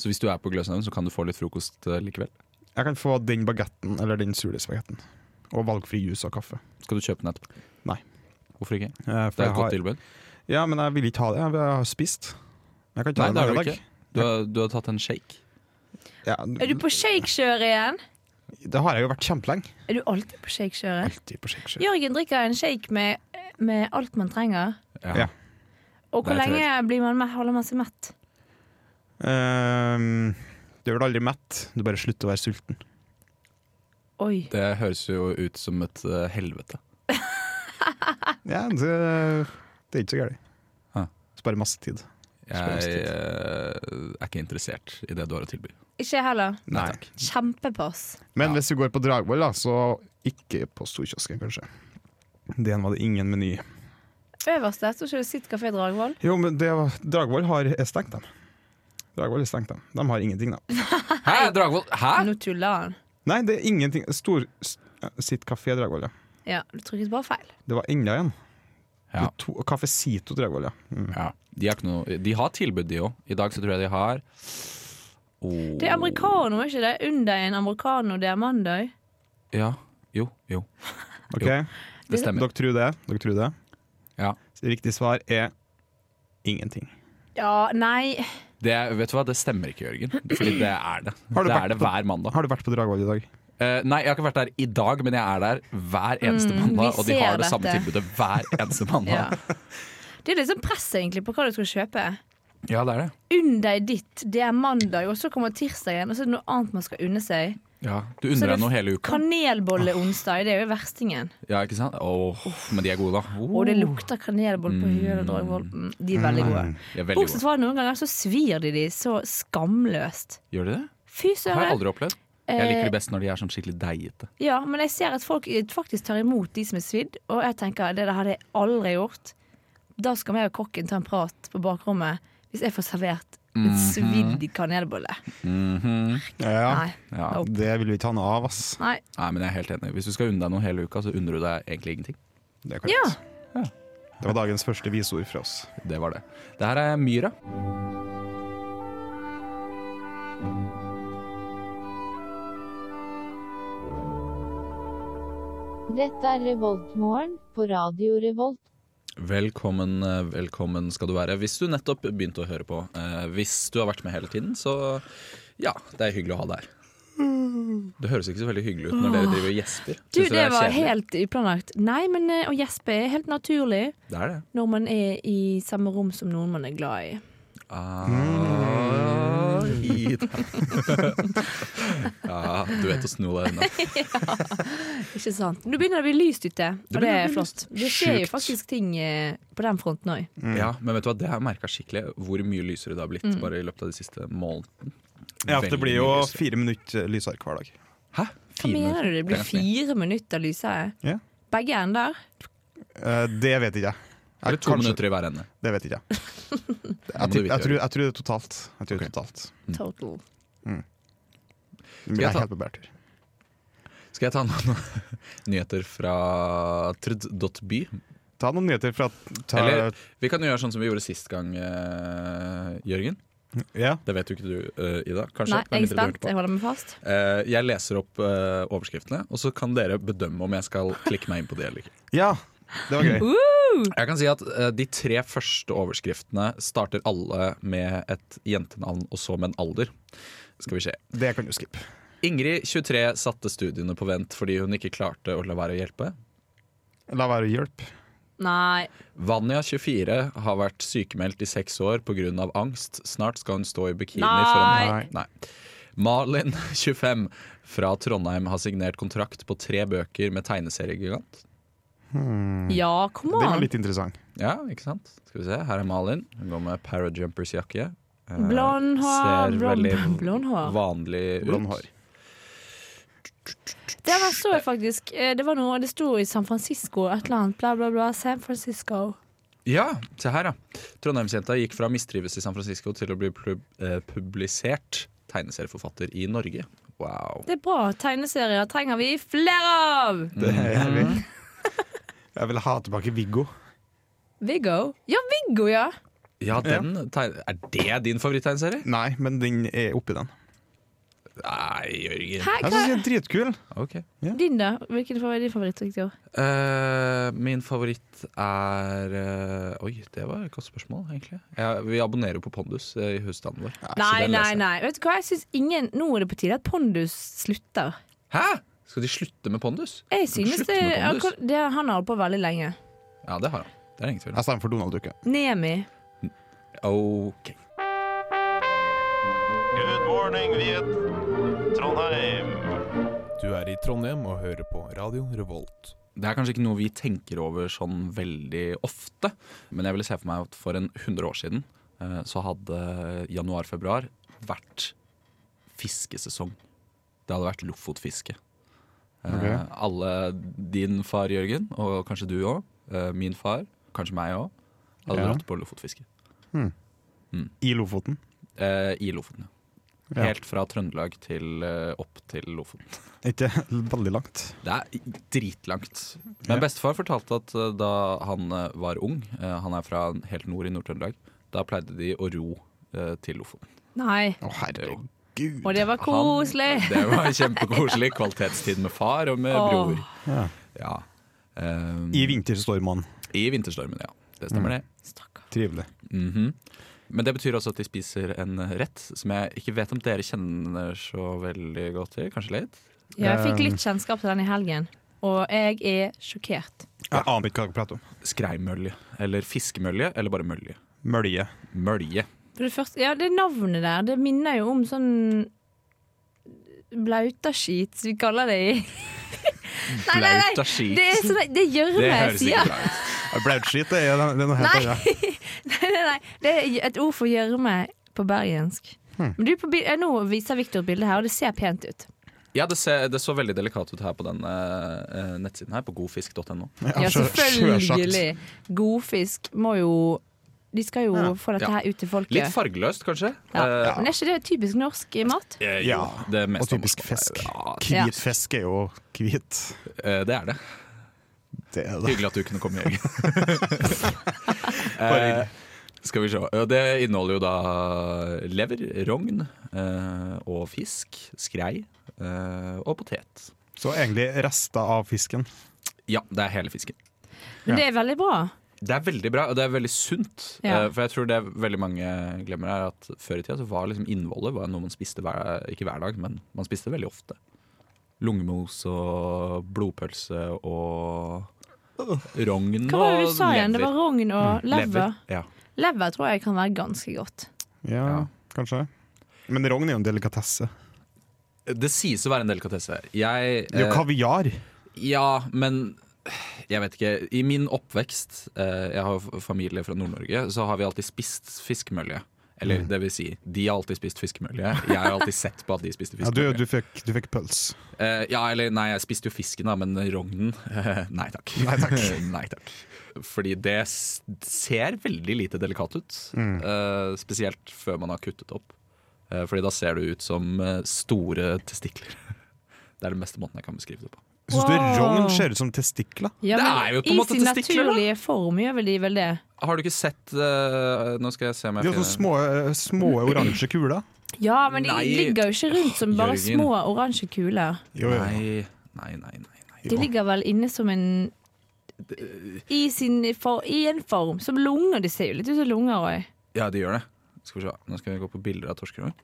Speaker 2: Så hvis du er på Gløshaugen, så kan du få litt frokost eh, likevel?
Speaker 7: Jeg kan få den bagetten eller den surdeigsbagetten. Og valgfri juice og kaffe.
Speaker 2: Skal du kjøpe den etterpå?
Speaker 7: Nei.
Speaker 2: Hvorfor ikke?
Speaker 7: Eh, for
Speaker 2: Det er
Speaker 7: jeg
Speaker 2: et
Speaker 7: har-
Speaker 2: godt tilbud.
Speaker 7: Ja, men jeg vil ikke ha det. Jeg har spist. Jeg
Speaker 2: Nei,
Speaker 7: kan ta
Speaker 2: det har
Speaker 7: det
Speaker 2: du
Speaker 7: i dag.
Speaker 2: ikke. Du har, du har tatt en shake.
Speaker 7: Ja,
Speaker 6: Er du
Speaker 7: Mm.
Speaker 6: på shakekjøret igjen?
Speaker 7: det har jeg jo vært kjempelenge.
Speaker 6: Er du alltid på shakekjøret?
Speaker 7: Alltid på Shakespeare.
Speaker 6: Jørgen drikker en shake med, med alt man trenger.
Speaker 7: Ja.
Speaker 6: Og hvor
Speaker 2: Nei, jeg tror
Speaker 6: lenge blir man mett, holder man seg mett?
Speaker 7: Ehm, du blir aldri mett. Du bare slutter å være sulten.
Speaker 6: Oi.
Speaker 2: Det høres jo ut som et eh, helvete.
Speaker 7: Ja, det, det er ikke så
Speaker 2: Ah.
Speaker 7: galt. Sparer masse tid.
Speaker 2: Jeg eh, er ikke interessert i det du har å tilby.
Speaker 6: Ikke jeg heller.
Speaker 7: Nei.
Speaker 6: Kjempepass.
Speaker 7: Men
Speaker 2: Ja.
Speaker 7: hvis du går på Dragvoll, da, så ikke på Storkiosken, kanskje. Den var det ingen meny.
Speaker 6: Øverst der står ikke det Sitt kafé Dragvoll.
Speaker 7: Jo, men det var, Dragvoll har er stengt dem. Dragvoll er stengt dem. De har ingenting, da.
Speaker 2: Hæ, Dragvoll? Hæ?
Speaker 6: Nå tuller han.
Speaker 7: Nei, det er ingenting. Stor, s- sitt kafé Dragvoll, ja.
Speaker 6: Ja, du trykket bare feil.
Speaker 7: Det var enda en.
Speaker 2: Ja.
Speaker 7: Det To, Kafé Sito Dragvoll, ja. Mm.
Speaker 2: Ja. De, har ikke noe, de har tilbud, de òg. I dag så tror jeg de har oh,
Speaker 6: Det er americano, er ikke det? Under en americano, det er mandag.
Speaker 2: Ja. Jo, jo.
Speaker 7: Ok,
Speaker 2: Jo, Det stemmer.
Speaker 7: Dere tror det? Dere tror det?
Speaker 2: Ja.
Speaker 7: Så Riktig svar er ingenting.
Speaker 6: Ja, nei
Speaker 2: Det, vet du hva, det stemmer ikke, Jørgen. Fordi det er det.
Speaker 7: Har du
Speaker 2: Det
Speaker 7: vært
Speaker 2: er det
Speaker 7: på-
Speaker 2: hver mandag.
Speaker 7: Har du vært på Dragvoll i dag?
Speaker 2: Eh, nei, jeg har ikke vært der i dag, men jeg er der hver eneste
Speaker 6: Mm,
Speaker 2: mandag.
Speaker 6: vi
Speaker 2: Og de
Speaker 6: ser
Speaker 2: har det samme
Speaker 6: dette.
Speaker 2: tilbudet hver eneste mandag.
Speaker 6: ja.
Speaker 2: ja.
Speaker 6: Det er litt sånn press egentlig på hva du skal kjøpe.
Speaker 2: det er det.
Speaker 6: Unn deg ditt, det er mandag, og så kommer tirsdagen, og så er det noe annet man skal unne seg.
Speaker 2: Ja. Du
Speaker 6: Så
Speaker 2: unner
Speaker 6: det-
Speaker 2: deg noe hele uka.
Speaker 6: Kanelbolle onsdag, det er jo verstingen.
Speaker 2: Ja, ikke sant? Åh, men de er gode, da.
Speaker 6: Og det lukter kanelbolle på Hyøl og Dragvoll. Oh. Mm, De er veldig gode.
Speaker 2: De er veldig
Speaker 6: Bortsett
Speaker 2: gode.
Speaker 6: fra at noen ganger så svir de de så skamløst.
Speaker 2: Gjør de det?
Speaker 6: Fy
Speaker 2: Det har jeg
Speaker 6: søren.
Speaker 2: aldri opplevd. Jeg liker
Speaker 6: Eh.
Speaker 2: det best når de er sånn skikkelig deigete.
Speaker 6: Ja, men jeg ser at folk eh, faktisk tar imot de som er svidd, og jeg tenker det der hadde jeg aldri gjort. Da skal vi og kokken ta en prat på bakrommet hvis jeg får servert et svidd kanelbolle.
Speaker 7: Ja,
Speaker 6: Nei.
Speaker 2: Mhm. Ja.
Speaker 6: Nope.
Speaker 7: det vil vi ta noe av, ass.
Speaker 6: Nei.
Speaker 2: Nei, men jeg er helt enig. Hvis du skal unne deg noe hele uka, så unner du deg egentlig ingenting.
Speaker 7: Det er
Speaker 6: Ja.
Speaker 7: korrekt. Det var dagens første visord fra oss.
Speaker 2: Det var det. Det her er Myra.
Speaker 8: Dette er Revoltmorgen på Radio Revolt.
Speaker 2: Velkommen, eh, velkommen skal du være. Hvis du nettopp begynte å høre på. Eh, hvis du har vært med hele tiden, så ja, det er hyggelig å ha deg her. Det høres ikke så veldig hyggelig ut når dere driver og gjesper.
Speaker 6: Du,
Speaker 2: Synes
Speaker 6: det
Speaker 2: er
Speaker 6: var
Speaker 2: kjedelig?
Speaker 6: helt uplanlagt. Nei, men eh, å gjespe er helt naturlig
Speaker 2: Det er det.
Speaker 6: når man er i samme rom som noen man er glad i.
Speaker 2: Ah, i det. ja, du vet å sno deg unna.
Speaker 6: Ikke sant? Nå begynner det å bli lyst ute, og det
Speaker 2: begynner å
Speaker 6: er
Speaker 2: bli
Speaker 6: flott. Det skjer
Speaker 2: Sjukt.
Speaker 6: jo faktisk ting eh, på den fronten òg.
Speaker 2: Ja, men vet du hva, det har jeg merka skikkelig. Hvor mye lysere det har blitt
Speaker 6: Mm.
Speaker 2: bare i løpet av de siste månedene.
Speaker 7: Ja, for det
Speaker 2: Veldig
Speaker 7: blir jo
Speaker 2: mye lysere.
Speaker 7: fire minutter lysere hver dag.
Speaker 2: Hæ?
Speaker 6: Hva
Speaker 2: Fire
Speaker 6: mener du? Det blir
Speaker 2: ganske mye.
Speaker 6: fire minutter lysere?
Speaker 7: Ja.
Speaker 6: Begge ender?
Speaker 7: Eh, det vet ikke jeg. Jeg
Speaker 2: Eller to
Speaker 7: kanskje-
Speaker 2: minutter i hver ende.
Speaker 7: Det vet ikke jeg.
Speaker 2: må
Speaker 7: Jeg,
Speaker 2: du
Speaker 7: tror-
Speaker 2: vite,
Speaker 7: jeg, tror,
Speaker 2: Jørgen.
Speaker 7: jeg tror det er totalt. Jeg tror det er totalt.
Speaker 2: Mm.
Speaker 6: Total.
Speaker 7: Men jeg
Speaker 2: ta-
Speaker 7: er helt på bærtur.
Speaker 2: Skal jeg ta noen nyheter fra trud.by?
Speaker 7: Ta noen nyheter fra ta,
Speaker 2: Eller vi kan jo gjøre sånn som vi gjorde sist gang, eh, Jørgen.
Speaker 7: Ja.
Speaker 2: Det vet jo ikke du, eh, Ida. Kanskje?
Speaker 6: Nei,
Speaker 2: med
Speaker 6: jeg er
Speaker 2: mindre du hørte
Speaker 6: spent.
Speaker 2: på.
Speaker 6: Jeg holder meg fast.
Speaker 2: Eh, jeg leser opp eh, overskriftene, og så kan dere bedømme om jeg skal klikke meg inn på det eller ikke.
Speaker 7: ja, det var gøy.
Speaker 6: Mm.
Speaker 2: Jeg kan si at eh, De tre første overskriftene starter alle med et jentenavn og så med en alder. Skal vi se.
Speaker 7: Det kan du skippe.
Speaker 2: Ingrid, 23, satte studiene på vent fordi hun ikke klarte å la være å hjelpe.
Speaker 7: La være å hjelpe.
Speaker 6: Nei.
Speaker 2: Vanja, 24, har vært sykemeldt i seks år pga. angst. Snart skal hun stå i bikini
Speaker 6: Nei.
Speaker 2: foran Nei. Malin, 25, fra Trondheim, har signert kontrakt på tre bøker med tegneseriegigant. Mm.
Speaker 6: Ja, kom
Speaker 7: Den var
Speaker 6: an.
Speaker 7: litt interessant.
Speaker 2: Ja, ikke sant? Skal vi se, Her er Malin. Hun går med Parajumpers jakke. Eh,
Speaker 6: Blond hår.
Speaker 2: Ser
Speaker 6: Blond,
Speaker 2: veldig
Speaker 6: blond hår.
Speaker 2: vanlig ut.
Speaker 7: Blond hår.
Speaker 6: Det var så jeg faktisk. Eh, Det var noe, det sto i San Francisco et eller annet. Bla, bla, bla. San Francisco.
Speaker 2: Ja, se her, ja. Trondheimsjenta gikk fra mistrives i San Francisco til å bli plu- eh, publisert tegneserieforfatter i Norge. Wow.
Speaker 6: Det er bra. Tegneserier trenger vi flere av!
Speaker 7: Det er
Speaker 2: Mm.
Speaker 7: vi. Jeg vil ha tilbake Viggo.
Speaker 6: Viggo? Ja, Viggo, ja!
Speaker 2: Ja, den teg- Er det din favoritttegneserie?
Speaker 7: Nei, men den er oppi den.
Speaker 2: Nei, Jørgen.
Speaker 6: Hæ,
Speaker 7: Jeg
Speaker 6: hva?
Speaker 7: synes den er dritkul.
Speaker 2: Ok.
Speaker 6: Din, da? Hvilken favoritt- din favoritt? Victor?
Speaker 2: Eh, min favoritt er eh, Oi, det var et godt spørsmål, egentlig. Ja, vi abonnerer jo på Pondus eh, i husstanden vår.
Speaker 6: Nei,
Speaker 2: den altså. leser
Speaker 6: nei,
Speaker 2: jeg.
Speaker 6: nei. Vet du hva? Jeg synes ingen, Nå er det på tide at Pondus slutter.
Speaker 2: Hæ?! Skal de slutte med Pondus?
Speaker 6: Jeg synes
Speaker 2: Slutt
Speaker 6: det,
Speaker 2: med
Speaker 6: ja,
Speaker 2: Pondus.
Speaker 6: hvor- det Han har holdt på veldig lenge.
Speaker 2: Ja, det har han. Det er ingen tvil om.
Speaker 7: Jeg stemmer for Donald Dukke.
Speaker 6: Nemi.
Speaker 2: Ok.
Speaker 9: Good morning, Viet. Trondheim.
Speaker 5: Du er i Trondheim og hører på Radio Revolt.
Speaker 2: Det er kanskje ikke noe vi tenker over sånn veldig ofte, men jeg ville se for meg at for en 100 år siden eh, så hadde januar-februar vært fiskesesong. Det hadde vært lofotfiske. Eh,
Speaker 7: Ok.
Speaker 2: Alle, din far Jørgen, og kanskje du òg, min far, kanskje meg òg, hadde
Speaker 7: Ja.
Speaker 2: dratt på lofotfiske.
Speaker 7: I Lofoten.
Speaker 2: Eh, I Lofoten, ja.
Speaker 7: Ja.
Speaker 2: Helt fra Trøndelag til eh, opp til Lofoten.
Speaker 7: Ikke veldig langt.
Speaker 2: Det er dritlangt. Men bestefar fortalte at eh, da han eh, var ung, eh, han er fra helt nord i Nord-Trøndelag, da pleide de å ro eh, til Lofoten.
Speaker 6: Nei.
Speaker 7: Å, herregud.
Speaker 6: Og det var koselig!
Speaker 2: Han, det var kjempekoselig. Kvalitetstid med far og med
Speaker 6: Åh.
Speaker 2: bror.
Speaker 7: Ja.
Speaker 2: Ja. Eh,
Speaker 7: I Mm. vinterstormene.
Speaker 2: I vinterstormen, ja. Det stemmer, det.
Speaker 6: Stakkar.
Speaker 7: Trivelig.
Speaker 2: Mhm. Men det betyr også at de spiser en rett som jeg ikke vet om dere kjenner så veldig godt til. Kanskje litt?
Speaker 6: Ja, jeg
Speaker 2: Ehm.
Speaker 6: fikk litt kjennskap til den i helgen, og jeg er sjokkert.
Speaker 7: Jeg aner ikke hva dere prater om.
Speaker 2: Skreimølje. Eller fiskemølje, eller bare mølje.
Speaker 7: Mølje.
Speaker 2: Mølje.
Speaker 6: For det første, ja, det navnet der, det minner jo om sånn Blautaskit, som vi kaller det i Nei, nei, nei!
Speaker 2: Blaut av skit.
Speaker 6: Det, er sånn, det gjør
Speaker 2: Det
Speaker 6: meg,
Speaker 2: høres ikke
Speaker 6: sier
Speaker 2: bra ut.
Speaker 7: Blautskit det er, det er noe helt
Speaker 6: Nei.
Speaker 7: annet.
Speaker 6: Nei, nei, nei. Det er et ord for gjørme på bergensk.
Speaker 2: Hmm.
Speaker 6: Men du, på bil- eh, nå viser Victor et bilde her, og det ser pent ut.
Speaker 2: Ja, det, ser, det så veldig delikat ut her på den eh, nettsiden her, på godfisk.no.
Speaker 6: Ja,
Speaker 7: sjø-
Speaker 6: selvfølgelig. Godfisk må jo De skal jo få dette
Speaker 2: Ja.
Speaker 6: her ut til folket.
Speaker 2: Litt fargeløst, kanskje.
Speaker 6: ja.
Speaker 2: Eh,
Speaker 6: Men er ikke det typisk norsk i mat?
Speaker 2: eh,
Speaker 7: Ja,
Speaker 2: jo, det
Speaker 7: Og
Speaker 2: meste
Speaker 7: typisk
Speaker 2: norske-
Speaker 7: fisk.
Speaker 2: Ja,
Speaker 6: Ja.
Speaker 7: Hvit fisk er jo hvit.
Speaker 2: eh, det er det.
Speaker 7: Det er det.
Speaker 2: Hyggelig at du kunne komme, Jørgen. Eh, skal vi se. Eh, Det inneholder jo da lever, rogn eh, og fisk, skrei eh, og potet.
Speaker 7: Så egentlig rester av fisken.
Speaker 2: Ja, det er hele fisken.
Speaker 6: Men det er veldig bra.
Speaker 2: Det er veldig bra, og det er veldig sunt.
Speaker 6: Ja.
Speaker 2: Eh, For jeg tror det veldig mange glemmer, er at før i tida så var liksom innholdet var noe man spiste hver, ikke hver dag, men man spiste veldig ofte. Lungemos og blodpølse og rogn
Speaker 6: Hva var det
Speaker 2: og
Speaker 6: du sa igjen? Det var rogn og
Speaker 2: Mm,
Speaker 6: lever.
Speaker 2: Ja.
Speaker 6: Lever tror jeg kan være ganske godt.
Speaker 7: Ja, kanskje. Men rogn er jo en delikatesse.
Speaker 2: Det sies å være en delikatesse. Jeg
Speaker 7: Det er jo
Speaker 2: eh,
Speaker 7: kaviar.
Speaker 2: Ja, men jeg vet ikke. I min oppvekst, eh, jeg har jo f- familie fra Nord-Norge, så har vi alltid spist fiskemølje.
Speaker 7: Mm.
Speaker 2: Eller det vil si, de har alltid spist fiskemølje. Jeg har alltid sett på at de spiste
Speaker 7: Ja, du,
Speaker 2: fiskemølje.
Speaker 7: du, fikk, du fikk pøls.
Speaker 2: Eh, ja, eller nei, jeg spiste jo fisken, da, men rognen eh, Nei takk.
Speaker 7: Nei, takk.
Speaker 2: Nei, takk. Fordi det s- ser veldig lite delikat ut.
Speaker 7: Mm.
Speaker 2: eh, spesielt før man har kuttet opp. Eh, fordi da ser det ut som eh, store testikler. Det er den beste måten jeg kan beskrive det på.
Speaker 7: Jeg syns wow.
Speaker 6: Wow.
Speaker 7: rogn ser ut som testikler.
Speaker 6: Ja,
Speaker 2: Det
Speaker 6: men
Speaker 2: er jo på en måte
Speaker 6: I sin
Speaker 2: testikler, da.
Speaker 6: naturlige form gjør vel de vel det?
Speaker 2: Har du ikke sett eh, Nå skal jeg se om
Speaker 7: De
Speaker 2: jeg
Speaker 7: har sånne små, eh, små oransje kuler.
Speaker 6: Ja, men de
Speaker 2: Nei.
Speaker 6: ligger jo ikke rundt som bare
Speaker 2: Jørgen.
Speaker 6: små oransje kuler.
Speaker 7: Jo, jo.
Speaker 2: Nei, nei, nei. nei, nei.
Speaker 6: De ligger vel inne som en i, sin, for, I en form. Som lunger. De ser jo litt ut som lunger òg.
Speaker 2: Ja, de gjør det. Skal vi se. Nå skal vi gå på bilder av torskerogn.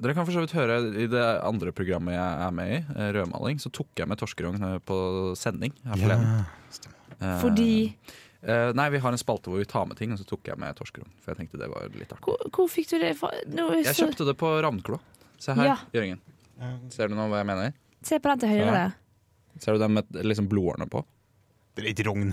Speaker 2: Dere kan for så vidt høre I det andre programmet jeg er med i, eh, Rødmaling, så tok jeg med torskerogn eh, på sending. her forleden. Eh,
Speaker 6: Fordi
Speaker 2: eh, Nei, vi har en spalte hvor vi tar med ting, og så tok jeg med torskerogn. For jeg tenkte det var litt artig.
Speaker 6: Hvor, hvor fikk du det fra? Nå, er
Speaker 2: Jeg
Speaker 6: så,
Speaker 2: kjøpte det på Ravnklo. Se her,
Speaker 6: Ja.
Speaker 2: Jørgen. Ser du nå hva jeg mener?
Speaker 6: se på den til høyre
Speaker 2: Ja.
Speaker 6: der.
Speaker 2: Ser du den med liksom blodårene på?
Speaker 7: Det er ikke rogn.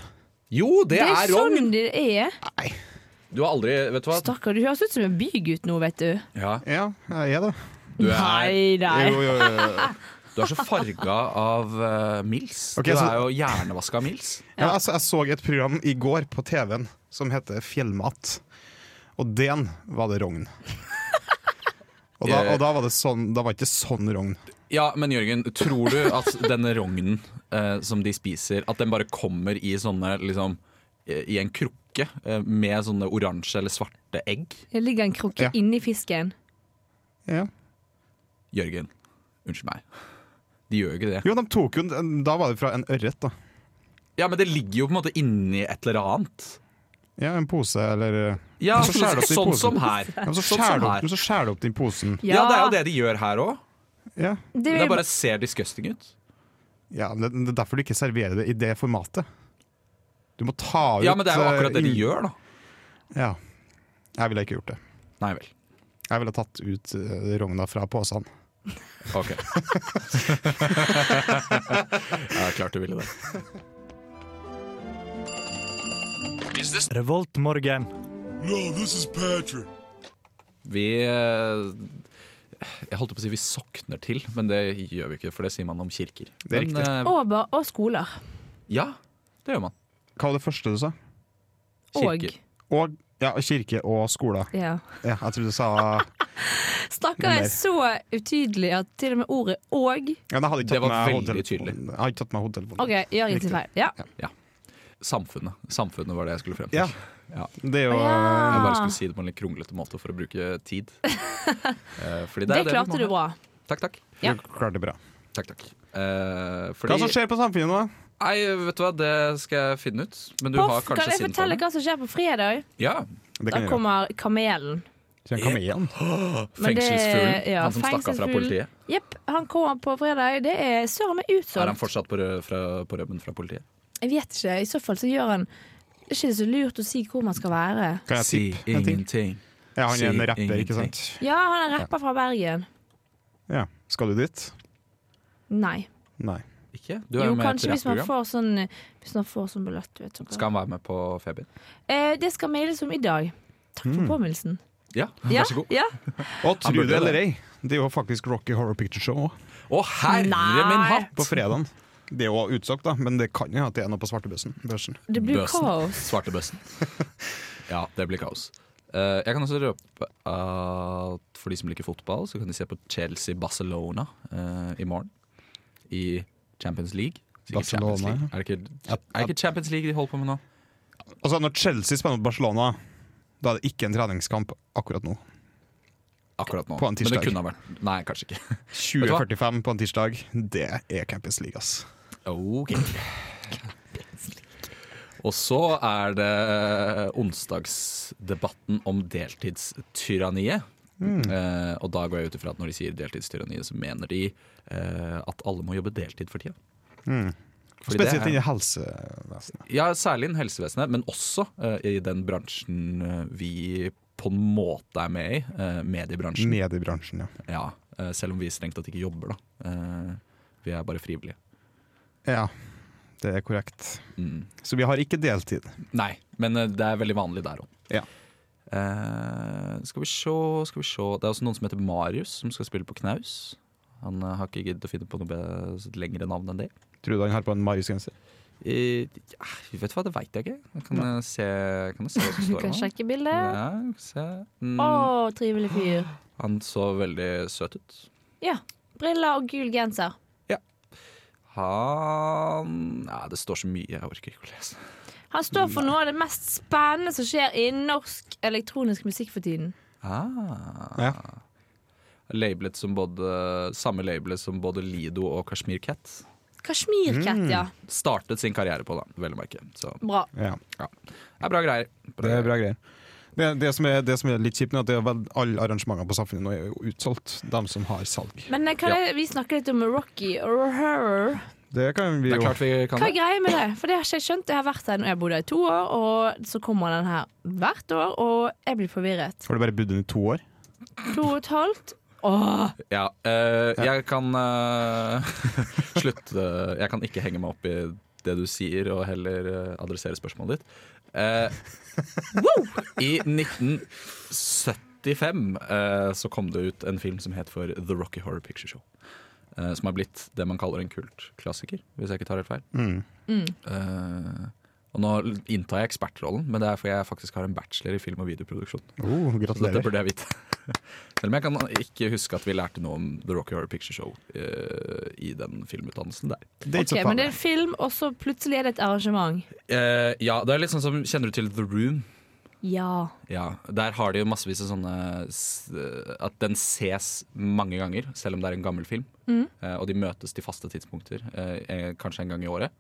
Speaker 2: Jo, det,
Speaker 6: Det er,
Speaker 2: er rogn!
Speaker 6: sånn det er.
Speaker 2: Du har aldri Vet du hva?
Speaker 6: Stakkar, du høres ut som en bygutt nå, vet du.
Speaker 2: Ja,
Speaker 7: Ja, jeg er det.
Speaker 2: du er
Speaker 6: Nei, nei.
Speaker 7: Jo, jo, jo, jo.
Speaker 2: Du er så farga av eh, Mils.
Speaker 7: Ok,
Speaker 2: du
Speaker 7: så-
Speaker 2: er jo hjernevaska av Mils.
Speaker 7: Ja, altså, jeg så et program i går på TV-en som heter Fjellmat. Og den var det rogn. Og da, og da var det sånn Da var ikke sånn rogn.
Speaker 2: Ja, men Jørgen, tror du at denne rognen eh, som de spiser, at den bare kommer i sånne liksom eh, I en krukke eh, med sånne oransje eller svarte egg?
Speaker 6: Det ligger en krukke
Speaker 7: Ja.
Speaker 6: inni fisken.
Speaker 7: Ja.
Speaker 2: Jørgen, unnskyld meg. De gjør jo ikke det.
Speaker 7: Jo, de tok jo Da var det fra en ørret, da.
Speaker 2: Ja, men det ligger jo på en måte inni et eller annet.
Speaker 7: Ja, en pose eller eh,
Speaker 2: Ja,
Speaker 7: Men så
Speaker 2: sånn,
Speaker 7: skjærer det opp i
Speaker 2: sånn
Speaker 7: posen.
Speaker 2: som her.
Speaker 7: ja, men Så
Speaker 2: Sånn
Speaker 7: skjærer
Speaker 2: som
Speaker 7: du opp,
Speaker 2: her.
Speaker 7: men så skjærer du opp den posen.
Speaker 2: Ja, det er jo det de gjør her òg.
Speaker 7: Ja.
Speaker 6: det
Speaker 2: Det
Speaker 6: er
Speaker 2: bare ser disgusting ut.
Speaker 7: ja men det, det er derfor du ikke serverer det i det formatet. Du må ta ut
Speaker 2: Ja, men det er jo akkurat det de
Speaker 7: eh,
Speaker 2: gjør, da.
Speaker 7: Ja. Jeg ville ikke gjort det.
Speaker 2: Nei vel.
Speaker 7: Jeg ville tatt ut eh, rogna fra posene.
Speaker 2: Ok. Jeg er klart du ville det.
Speaker 5: Revoltmorgen.
Speaker 2: Vi eh, Jeg holdt på å si vi sokner til, men det gjør vi ikke, for det sier man om kirker.
Speaker 7: Det er
Speaker 2: men, eh,
Speaker 6: Og, ba- og skoler.
Speaker 2: ja, det gjør man.
Speaker 7: Hva var det første du sa?
Speaker 6: Og
Speaker 2: Kirker.
Speaker 7: Og ja, kirke og skoler.
Speaker 6: ja.
Speaker 7: Ja, jeg trodde du sa
Speaker 6: Snakker
Speaker 7: Mer.
Speaker 6: jeg så utydelig at til og med ordet 'og'
Speaker 7: ja, men jeg hadde ikke
Speaker 2: Det
Speaker 7: tatt
Speaker 2: var
Speaker 7: med
Speaker 2: veldig
Speaker 7: hodetelefonen.
Speaker 2: tydelig.
Speaker 7: Jeg hadde ikke tatt med hodetelefonen.
Speaker 6: OK, gjør
Speaker 7: Riktig.
Speaker 6: ingenting feil. Ja.
Speaker 2: Samfunnet. Samfunnet var det jeg skulle frem til.
Speaker 7: Ja. Det er jo
Speaker 2: Jeg bare
Speaker 6: ja.
Speaker 2: skulle si det på en litt kronglete måte for å bruke tid. Eh, fordi
Speaker 6: Det
Speaker 2: er vi må
Speaker 6: klarte du
Speaker 2: ha.
Speaker 6: bra.
Speaker 2: Takk, takk.
Speaker 6: Ja.
Speaker 7: Du klarte det bra.
Speaker 2: takk, takk. Eh, fordi,
Speaker 7: Hva som skjer på samfunnet nå?
Speaker 2: Nei, vet du hva, det skal jeg finne ut. Men du har
Speaker 6: Poff, kan
Speaker 2: kanskje
Speaker 6: jeg
Speaker 2: siden
Speaker 6: fortelle hva som skjer på fredag?
Speaker 2: Ja,
Speaker 7: Det
Speaker 6: Da
Speaker 7: kan jeg gjøre.
Speaker 6: kommer kamelen.
Speaker 7: Kjenn kamelen.
Speaker 6: Men det-
Speaker 2: Fengselsfuglen.
Speaker 6: ja,
Speaker 2: han som stakk av fra
Speaker 6: fengselsfuglen.
Speaker 2: politiet.
Speaker 6: Jepp, han kommer på fredag. Det er søren meg
Speaker 2: Er han
Speaker 6: utsolgt.
Speaker 2: fortsatt på, rø- fra, på rømmen fra politiet?
Speaker 6: Jeg vet ikke. I så fall så gjør han Det er ikke så lurt å si hvor man skal være.
Speaker 7: Kan jeg tippe en ting? Ja, han er en
Speaker 2: Si
Speaker 7: rapper, ikke
Speaker 2: ingenting.
Speaker 7: sant?
Speaker 6: Ja, han er rapper fra Bergen.
Speaker 7: Ja. Skal du dit?
Speaker 6: Nei.
Speaker 7: Nei.
Speaker 2: Ikke? Du er
Speaker 6: Jo,
Speaker 2: jo med i et
Speaker 6: kanskje hvis man
Speaker 2: rappprogram.
Speaker 6: får sånn Hvis man får sånn billett. du Vet, sånn.
Speaker 2: Skal han være med på Febien?
Speaker 6: Eh, det skal mailes om i dag. Takk for påminnelsen.
Speaker 2: Ja,
Speaker 6: Ja,
Speaker 2: Mm. vær så god.
Speaker 6: ja.
Speaker 7: Og
Speaker 2: Han
Speaker 7: tro
Speaker 2: burde
Speaker 7: det eller
Speaker 2: det.
Speaker 7: ei, det er jo faktisk Rocky Horror Picture Show også,
Speaker 2: Å, herre
Speaker 6: Nei.
Speaker 2: min hatt!
Speaker 7: på fredagen. Det er jo utsolgt, da, men det kan jo at det er noe på svartebussen. Børsen.
Speaker 6: Det blir
Speaker 2: Bøsen.
Speaker 6: kaos.
Speaker 2: Svartebøssen. Ja, det blir kaos. Eh, jeg kan også røpe at for de som liker fotball, så kan de se på Chelsea-Barcelona eh, i morgen. I Champions League. Sikkert Champions
Speaker 7: Barcelona,
Speaker 2: League. Er, det ikke, er det ikke Champions League de holder på med nå?
Speaker 7: Altså, når Chelsea spiller mot Barcelona, da er det ikke en treningskamp akkurat nå.
Speaker 2: Akkurat nå.
Speaker 7: På
Speaker 2: Men
Speaker 7: en
Speaker 2: det
Speaker 7: tirsdag.
Speaker 2: kunne ha vært Nei, kanskje ikke.
Speaker 7: 20.45 på en tirsdag, det er Campus League, ass.
Speaker 2: Ok. Og så er det onsdagsdebatten om deltidstyranniet. Eh, og da går jeg ut ifra at når de sier deltidstyranniet, så mener de eh, at alle må jobbe deltid for tida. Fordi det
Speaker 7: Mm. Spesielt
Speaker 2: er-
Speaker 7: innen helsevesenet.
Speaker 2: Ja, særlig innen helsevesenet, men også eh, i den bransjen eh, vi på en måte er med i. eh, mediebransjen.
Speaker 7: Mediebransjen, ja.
Speaker 2: Ja, eh, selv om vi strengt tatt ikke jobber, da. Eh, vi er bare frivillige.
Speaker 7: Ja, det er korrekt.
Speaker 2: Mm.
Speaker 7: Så vi har ikke deltid.
Speaker 2: Nei, men eh, det er veldig vanlig der òg.
Speaker 7: Ja.
Speaker 2: Eh, skal vi se, skal vi se Det er også noen som heter Marius, som skal spille på knaus. Han eh, har ikke giddet å finne på noe be- lengre navn enn det.
Speaker 7: Tror du han har på en Marius-genser?
Speaker 2: Eh, ja, vet du hva, det veit jeg ikke. Jeg kan eh, se, kan jeg se hva som
Speaker 6: Du
Speaker 2: står
Speaker 6: kan
Speaker 2: her.
Speaker 6: sjekke bildet.
Speaker 2: Ja, skal vi se. Mm,
Speaker 6: Å, trivelig fyr.
Speaker 2: han så veldig søt ut.
Speaker 6: Ja. Briller og gul genser.
Speaker 2: Han ja, Det står så mye, jeg orker ikke å lese.
Speaker 6: Han står for noe av det mest spennende som skjer i norsk elektronisk musikk for tiden.
Speaker 2: Ah.
Speaker 7: Ja.
Speaker 2: Labelet som både, samme labelet som både Lido og Kashmir Cat
Speaker 6: Kashmircat, ja.
Speaker 2: startet sin karriere på, da, vel å merke. Så
Speaker 6: Bra.
Speaker 7: Ja.
Speaker 2: ja. det er bra greier.
Speaker 7: Det er bra greier. Det, det, som er, det som er litt kjipt, nå, er at det er vel alle arrangementer på Samfunnet nå er jo utsolgt. De som har salg.
Speaker 6: Men eh, kan
Speaker 2: Ja.
Speaker 6: jeg, vi snakke litt om Rocky Horror?
Speaker 7: Det kan vi
Speaker 2: Det er
Speaker 7: jo
Speaker 2: klart vi kan
Speaker 6: Hva er
Speaker 2: det.
Speaker 6: greia med det? For det har ikke jeg skjønt. Jeg har vært her når jeg bodde her i to år, og så kommer den her hvert år, og jeg blir forvirret.
Speaker 7: Har du bare bodd den i to år?
Speaker 6: To og et halvt. Åh,
Speaker 2: Ja, eh, jeg kan eh, slutte Jeg kan ikke henge meg opp i det du sier, og heller eh, adressere spørsmålet ditt. Eh, I 1975 eh, så kom det ut en film som het for The Rocky Horror Picture Show. eh, som har blitt det man kaller en kultklassiker, hvis jeg ikke tar helt feil.
Speaker 7: Mm.
Speaker 6: mm.
Speaker 2: Eh, og nå inntar jeg ekspertrollen, men det er fordi jeg faktisk har en bachelor i film- og videoproduksjon.
Speaker 7: Oh,
Speaker 2: Så dette
Speaker 7: gratulerer.
Speaker 2: burde jeg vite. Selv om jeg kan ikke huske at vi lærte noe om The Rocky Horror Picture Show eh, i den filmutdannelsen der.
Speaker 7: Det er
Speaker 6: ok,
Speaker 7: ikke så
Speaker 6: men det
Speaker 7: farlig.
Speaker 6: er en film, og så plutselig er det et arrangement.
Speaker 2: Eh, ja, det er litt sånn som Kjenner du til The Room?
Speaker 6: Ja.
Speaker 2: Ja, Der har de jo massevis av sånne s- eh, At den ses mange ganger, selv om det er en gammel film. Eh, og de møtes til faste tidspunkter, eh, eh, kanskje en gang i året.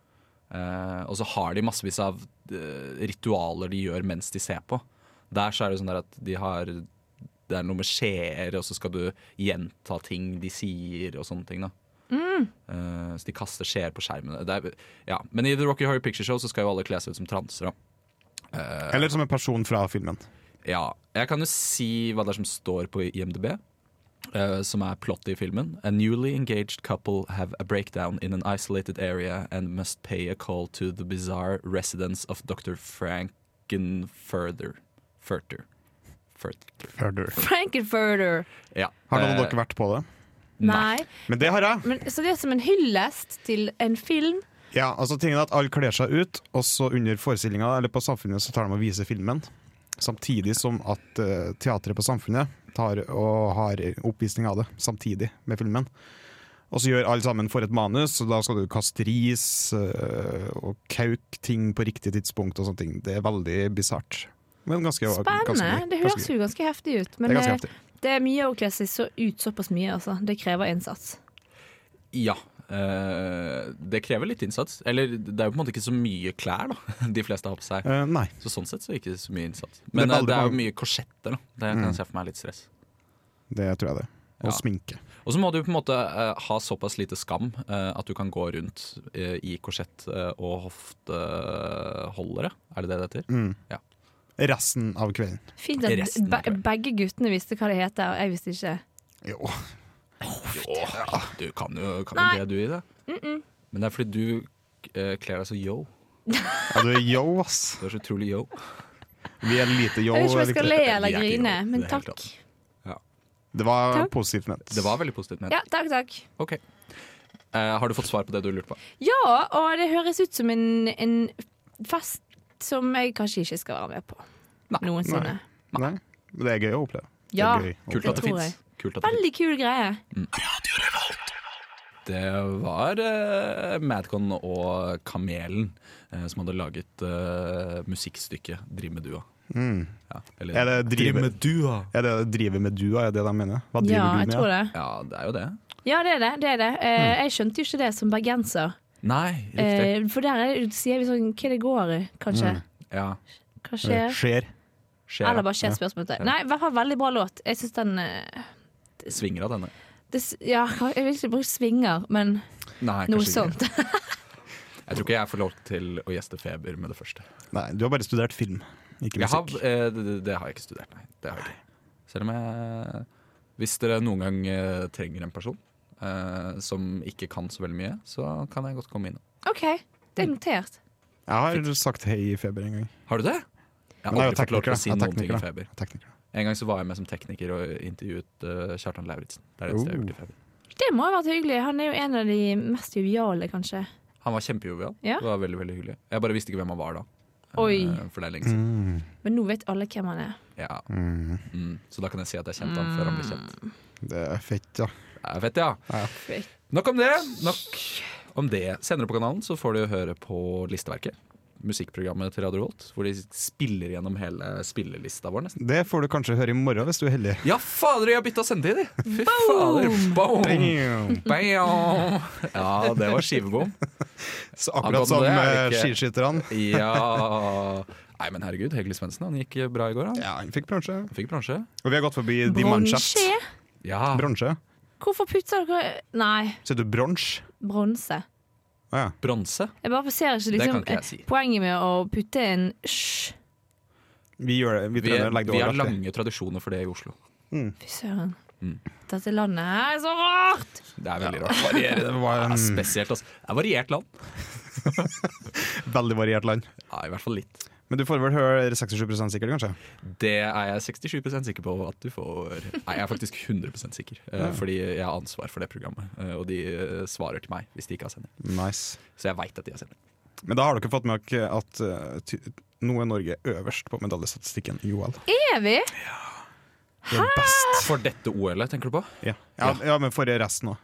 Speaker 2: Eh, og så har de massevis av eh, ritualer de gjør mens de ser på. Der så er det jo sånn der at de har Det er noe med skjeer, og så skal du gjenta ting de sier, og sånne ting. da Eh, Så de kaster skjeer på skjermene. Det er, ja. Men i The Rocky Horror Picture Show så skal jo alle kle seg ut som transer. da
Speaker 7: Eller som en person fra filmen.
Speaker 2: ja, jeg kan jo si hva det er som står på IMDb, eh, som er plottet i filmen. A newly engaged couple have a breakdown in an isolated area and must pay a call to the bizarre residence of Dr. Frankenfurter. Furter. Furter.
Speaker 7: Further.
Speaker 6: Frankenfurter.
Speaker 2: Ja.
Speaker 7: Har noen av
Speaker 2: eh,
Speaker 7: dere vært på det?
Speaker 6: Nei.
Speaker 7: Men det har jeg.
Speaker 6: Men, så det er som en hyllest til en film.
Speaker 7: Ja, altså tingen er at Alle kler seg ut, og så under forestillinga eller på Samfunnet så tar de og viser filmen. Samtidig som at eh, teatret på Samfunnet tar og har oppvisning av det samtidig med filmen. Og så gjør alle sammen for et manus, og da skal du kaste ris eh, og kauke ting på riktig tidspunkt. og sånne ting. Det er veldig bisart. Men ganske
Speaker 6: Spennende.
Speaker 7: ganske-
Speaker 6: Det
Speaker 7: ganske
Speaker 6: høres jo ganske heftig ut.
Speaker 7: Det er
Speaker 6: Men
Speaker 7: ganske
Speaker 6: eh,
Speaker 7: heftig.
Speaker 6: det er mye å kle seg så ut såpass mye, altså. Det krever innsats.
Speaker 2: Ja. eh, det krever litt innsats. Eller det er jo på en måte ikke så mye klær da de fleste har på seg.
Speaker 7: Eh, nei.
Speaker 2: Så sånn sett så er det ikke så mye innsats.
Speaker 7: er
Speaker 2: Men eh,
Speaker 7: veldig
Speaker 2: det er jo
Speaker 7: mange-
Speaker 2: mye korsetter. da Det kan jeg se for meg er litt stress.
Speaker 7: Det tror jeg det. Og
Speaker 2: Ja.
Speaker 7: sminke.
Speaker 2: Og så må du på en måte eh, ha såpass lite skam eh, at du kan gå rundt eh, i korsett eh, og hofteholdere. Er det det det heter?
Speaker 7: Mm.
Speaker 2: Ja.
Speaker 7: Resten av kvelden.
Speaker 6: Fint at
Speaker 2: Resten
Speaker 6: be
Speaker 2: av kvelden.
Speaker 6: begge guttene visste hva det heter, og jeg visste ikke.
Speaker 7: Jo.
Speaker 2: Åh, du kan jo, kan
Speaker 6: Nei.
Speaker 2: jo det, du, i det. Men det er fordi du eh, kler deg så yo.
Speaker 7: Ja, du er yo, ass.
Speaker 2: Du er så utrolig yo.
Speaker 7: Vi er lite yo.
Speaker 6: Jeg vet ikke om jeg skal le
Speaker 2: vi er
Speaker 6: eller
Speaker 2: ikke
Speaker 6: grine,
Speaker 2: i det
Speaker 6: men
Speaker 2: hele
Speaker 6: takk.
Speaker 2: tatt.
Speaker 7: Det var
Speaker 6: Takk.
Speaker 7: positivt ment.
Speaker 2: Det var veldig positivt ment.
Speaker 6: Ja, takk, takk.
Speaker 2: Ok. Eh, har du fått svar på det du lurte på?
Speaker 6: Ja, og det høres ut som en, en fest som jeg kanskje ikke skal være med på. Noensinne.
Speaker 7: Nei, men det er gøy å oppleve. Det er
Speaker 6: Ja.
Speaker 7: gøy å
Speaker 2: Kult
Speaker 6: Det
Speaker 2: at det
Speaker 6: tror
Speaker 2: fins.
Speaker 6: jeg. Veldig kul greie.
Speaker 2: Det var eh, Madcon og Kamelen eh, som hadde laget eh, musikkstykket 'Driv med dua'. Ja, eller,
Speaker 7: Mm. Er det drive- Driv med
Speaker 2: dua?
Speaker 7: Er det å drive med dua, er det de mener? Hva driver
Speaker 6: Ja, jeg
Speaker 7: du med? Mm.
Speaker 6: tror det.
Speaker 2: Ja, det er jo det.
Speaker 6: Ja, det er det. det, er det. Eh, Jeg skjønte jo ikke det som bergenser.
Speaker 2: Nei, riktig. Mm.
Speaker 6: Eh, for der er, sier vi sånn Hva det går i, kanskje.
Speaker 2: ja,
Speaker 6: Hva skjer?
Speaker 7: Skjer.
Speaker 2: Eh, skjer.
Speaker 6: Eller bare skjer spørsmålet. Nei, i hvert fall veldig bra låt. Jeg syns den eh,
Speaker 2: Svinger av denne.
Speaker 6: det, s- Ja, jeg vil ikke bruke svinger, men
Speaker 2: Nei,
Speaker 6: noe
Speaker 2: kanskje ikke.
Speaker 6: sånt.
Speaker 2: Jeg tror ikke jeg får lov til å gjeste Feber med det første.
Speaker 7: Nei, du har bare studert film, ikke
Speaker 2: Jeg har,
Speaker 7: musikk.
Speaker 2: eh, det, det har jeg ikke studert, nei. Det har jeg ikke. Selv om jeg Hvis dere noen gang eh, trenger en person eh, som ikke kan så veldig mye, så kan jeg godt komme inn.
Speaker 6: OK, det er notert.
Speaker 7: Jeg har sagt hei i feber en gang.
Speaker 2: Har du det? Jeg har
Speaker 7: Men jeg er jo
Speaker 2: aldri fått lov til å
Speaker 7: tekniker,
Speaker 2: si
Speaker 7: da. Jeg er
Speaker 2: noen ting om
Speaker 7: tekniker,
Speaker 2: feber.
Speaker 7: Tekniker.
Speaker 2: En gang så var jeg med som tekniker og intervjuet eh, Kjartan Lauritzen. Det er det eneste jeg har
Speaker 7: Oh.
Speaker 2: gjort i feber.
Speaker 6: Det må ha vært hyggelig. Han er jo en av de mest joviale, kanskje.
Speaker 2: Han var kjempejovial.
Speaker 6: Ja.
Speaker 2: Det var veldig, veldig hyggelig. Jeg bare visste ikke hvem han var da. Eh,
Speaker 6: Oi.
Speaker 2: For det er
Speaker 7: altså.
Speaker 2: lenge siden.
Speaker 6: Men nå vet alle hvem han er.
Speaker 2: Ja. Mm. Så da kan jeg si at jeg kjente han før han ble kjent.
Speaker 7: Det er fett, Mm. ja.
Speaker 2: Det er fett, ja.
Speaker 6: Fett.
Speaker 2: Nok om det. Nok Om det senere på kanalen så får du høre på listeverket. Musikkprogrammet til Radio Volt, hvor de spiller gjennom hele spillelista vår, nesten.
Speaker 7: Det får du kanskje høre i morgen hvis du er heldig.
Speaker 2: Ja, fader, jeg har bytta sendetid, de! Fy fader. Boom! Bam! Ja, det var skivebom.
Speaker 7: Så
Speaker 2: Akkurat
Speaker 7: akkurat som
Speaker 2: det er
Speaker 7: eh,
Speaker 2: det ikke.
Speaker 7: skiskytterne.
Speaker 2: Ja Nei, men herregud, Hegli Svendsen, han gikk bra i går, han.
Speaker 7: Ja, han fikk bronse.
Speaker 2: Fikk bransje.
Speaker 7: Og vi har gått forbi Dimanshat.
Speaker 6: Bronse?
Speaker 2: Ja.
Speaker 7: Bronse.
Speaker 6: Hvorfor putter dere Nei,
Speaker 7: Sier du bronsj?
Speaker 6: bronse.
Speaker 7: Å ja.
Speaker 2: Bronse.
Speaker 6: Jeg bare ser ikke
Speaker 2: Det
Speaker 6: liksom,
Speaker 2: kan ikke jeg si.
Speaker 6: poenget med å putte en sj.
Speaker 7: Vi gjør det. Vi,
Speaker 2: Vi,
Speaker 7: trøndere legger
Speaker 2: vi
Speaker 7: det
Speaker 2: har
Speaker 7: over alt, vi.
Speaker 2: lange tradisjoner for det i Oslo.
Speaker 6: Fy søren.
Speaker 2: Mm.
Speaker 6: Dette landet her er så rart!
Speaker 2: Det er veldig rart. Varierende.
Speaker 7: Det var
Speaker 2: Ja,
Speaker 7: en
Speaker 2: spesielt, altså. Det er variert land.
Speaker 7: veldig variert land.
Speaker 2: Ja, I hvert fall litt.
Speaker 7: Men du får vel høre 67 sikkert, kanskje?
Speaker 2: Det er jeg 67 sikker på at du får. Nei, jeg er faktisk 100 sikker. eh, Fordi jeg har ansvar for det programmet. eh, Og de eh, svarer til meg hvis de ikke har sending.
Speaker 7: Nice.
Speaker 2: Så jeg veit at de har sending.
Speaker 7: Men da har dere fått med dere at eh, ty- nå er Norge øverst på medaljestatistikken i OL.
Speaker 6: Er vi?
Speaker 7: Vi er best.
Speaker 2: For dette OL-et, tenker du på?
Speaker 7: Ja, ja, ja men for resten òg.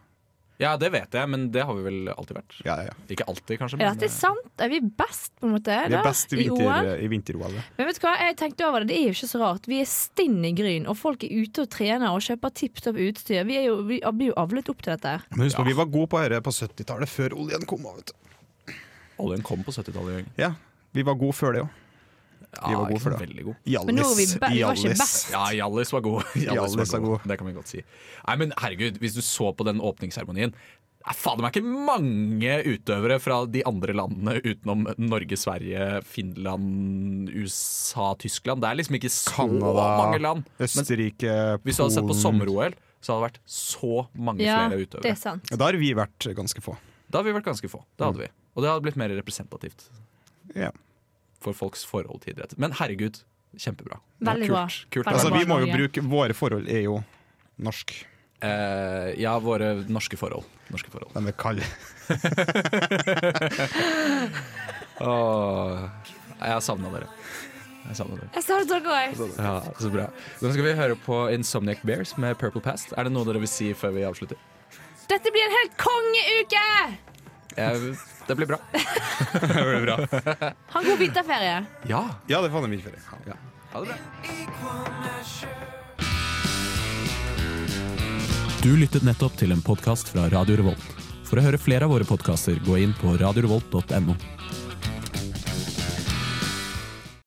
Speaker 2: Ja, det vet jeg, men det har vi vel alltid vært.
Speaker 7: Ja, ja, ja.
Speaker 2: Ikke alltid, kanskje.
Speaker 6: Er
Speaker 2: Men, eh,
Speaker 6: dette sant? Er vi best, på en måte?
Speaker 7: Vi er
Speaker 6: da,
Speaker 7: best
Speaker 6: i
Speaker 7: i,
Speaker 6: OL?
Speaker 7: vinter, i vinter-OL. ja.
Speaker 6: Men vet du hva, jeg tenkte over det, det er jo ikke så rart. Vi er stinn i gryn, og folk er ute og trener og kjøper tipp topp utstyr. Vi, er jo, vi blir jo avlet opp til dette. her.
Speaker 7: Men husk på, vi var gode på dette på 70-tallet, før oljen kom. Vet du.
Speaker 2: eh, Oljen kom på 70-tallet.
Speaker 7: Ja, vi var gode før det òg.
Speaker 2: Ja,
Speaker 7: Vi var gode
Speaker 2: ikke
Speaker 7: for
Speaker 2: så
Speaker 7: det.
Speaker 2: Veldig god.
Speaker 6: Men nå er vi be- vi var ikke best.
Speaker 2: Ja, Hjallis var god.
Speaker 7: Hjallis var god.
Speaker 2: Det kan vi godt si. Nei, men herregud, hvis du så på den åpningsseremonien Nei, faen, det er ikke mange utøvere fra de andre landene utenom Norge, Sverige, Finland, USA, Tyskland. Det er liksom ikke så mange
Speaker 7: Canada,
Speaker 2: land. Men
Speaker 7: Østerrike,
Speaker 2: hvis du hadde sett på sommer-OL, så hadde det vært så mange
Speaker 6: Ja,
Speaker 2: flere
Speaker 6: det
Speaker 2: utøvere.
Speaker 6: er sant.
Speaker 7: Ja, Da har vi vært ganske få.
Speaker 2: Da hadde vi vært ganske få.
Speaker 7: Mm.
Speaker 2: Det hadde vi. Og det hadde blitt mer representativt
Speaker 7: Ja.
Speaker 2: for folks forhold til idrett. Men herregud, kjempebra.
Speaker 6: Veldig bra.
Speaker 2: Kult. Kult.
Speaker 6: Veldig
Speaker 7: Altså,
Speaker 6: bra,
Speaker 7: vi må jo
Speaker 6: Norge.
Speaker 7: bruke Våre forhold er jo norsk.
Speaker 2: Eh, ja, våre norske forhold. Norske forhold.
Speaker 7: De er kalde.
Speaker 2: Åh, jeg har savna dere. Jeg savner dere.
Speaker 6: Jeg sa det så godt.
Speaker 2: Ja, så bra. Nå skal vi høre på Insomniac Bears med Purple Past. Er det noe dere vil si før vi avslutter?
Speaker 6: Dette blir en helt kongeuke!
Speaker 2: Eh, det blir bra.
Speaker 6: Ha en god vinterferie.
Speaker 2: Ja.
Speaker 7: Ja, det er faen meg mye ferie. Ja.
Speaker 2: Ha det bra.
Speaker 10: Du lyttet nettopp til en podkast fra Radio Revolt. For å høre flere av våre podkaster, gå inn på radiorevolt.no.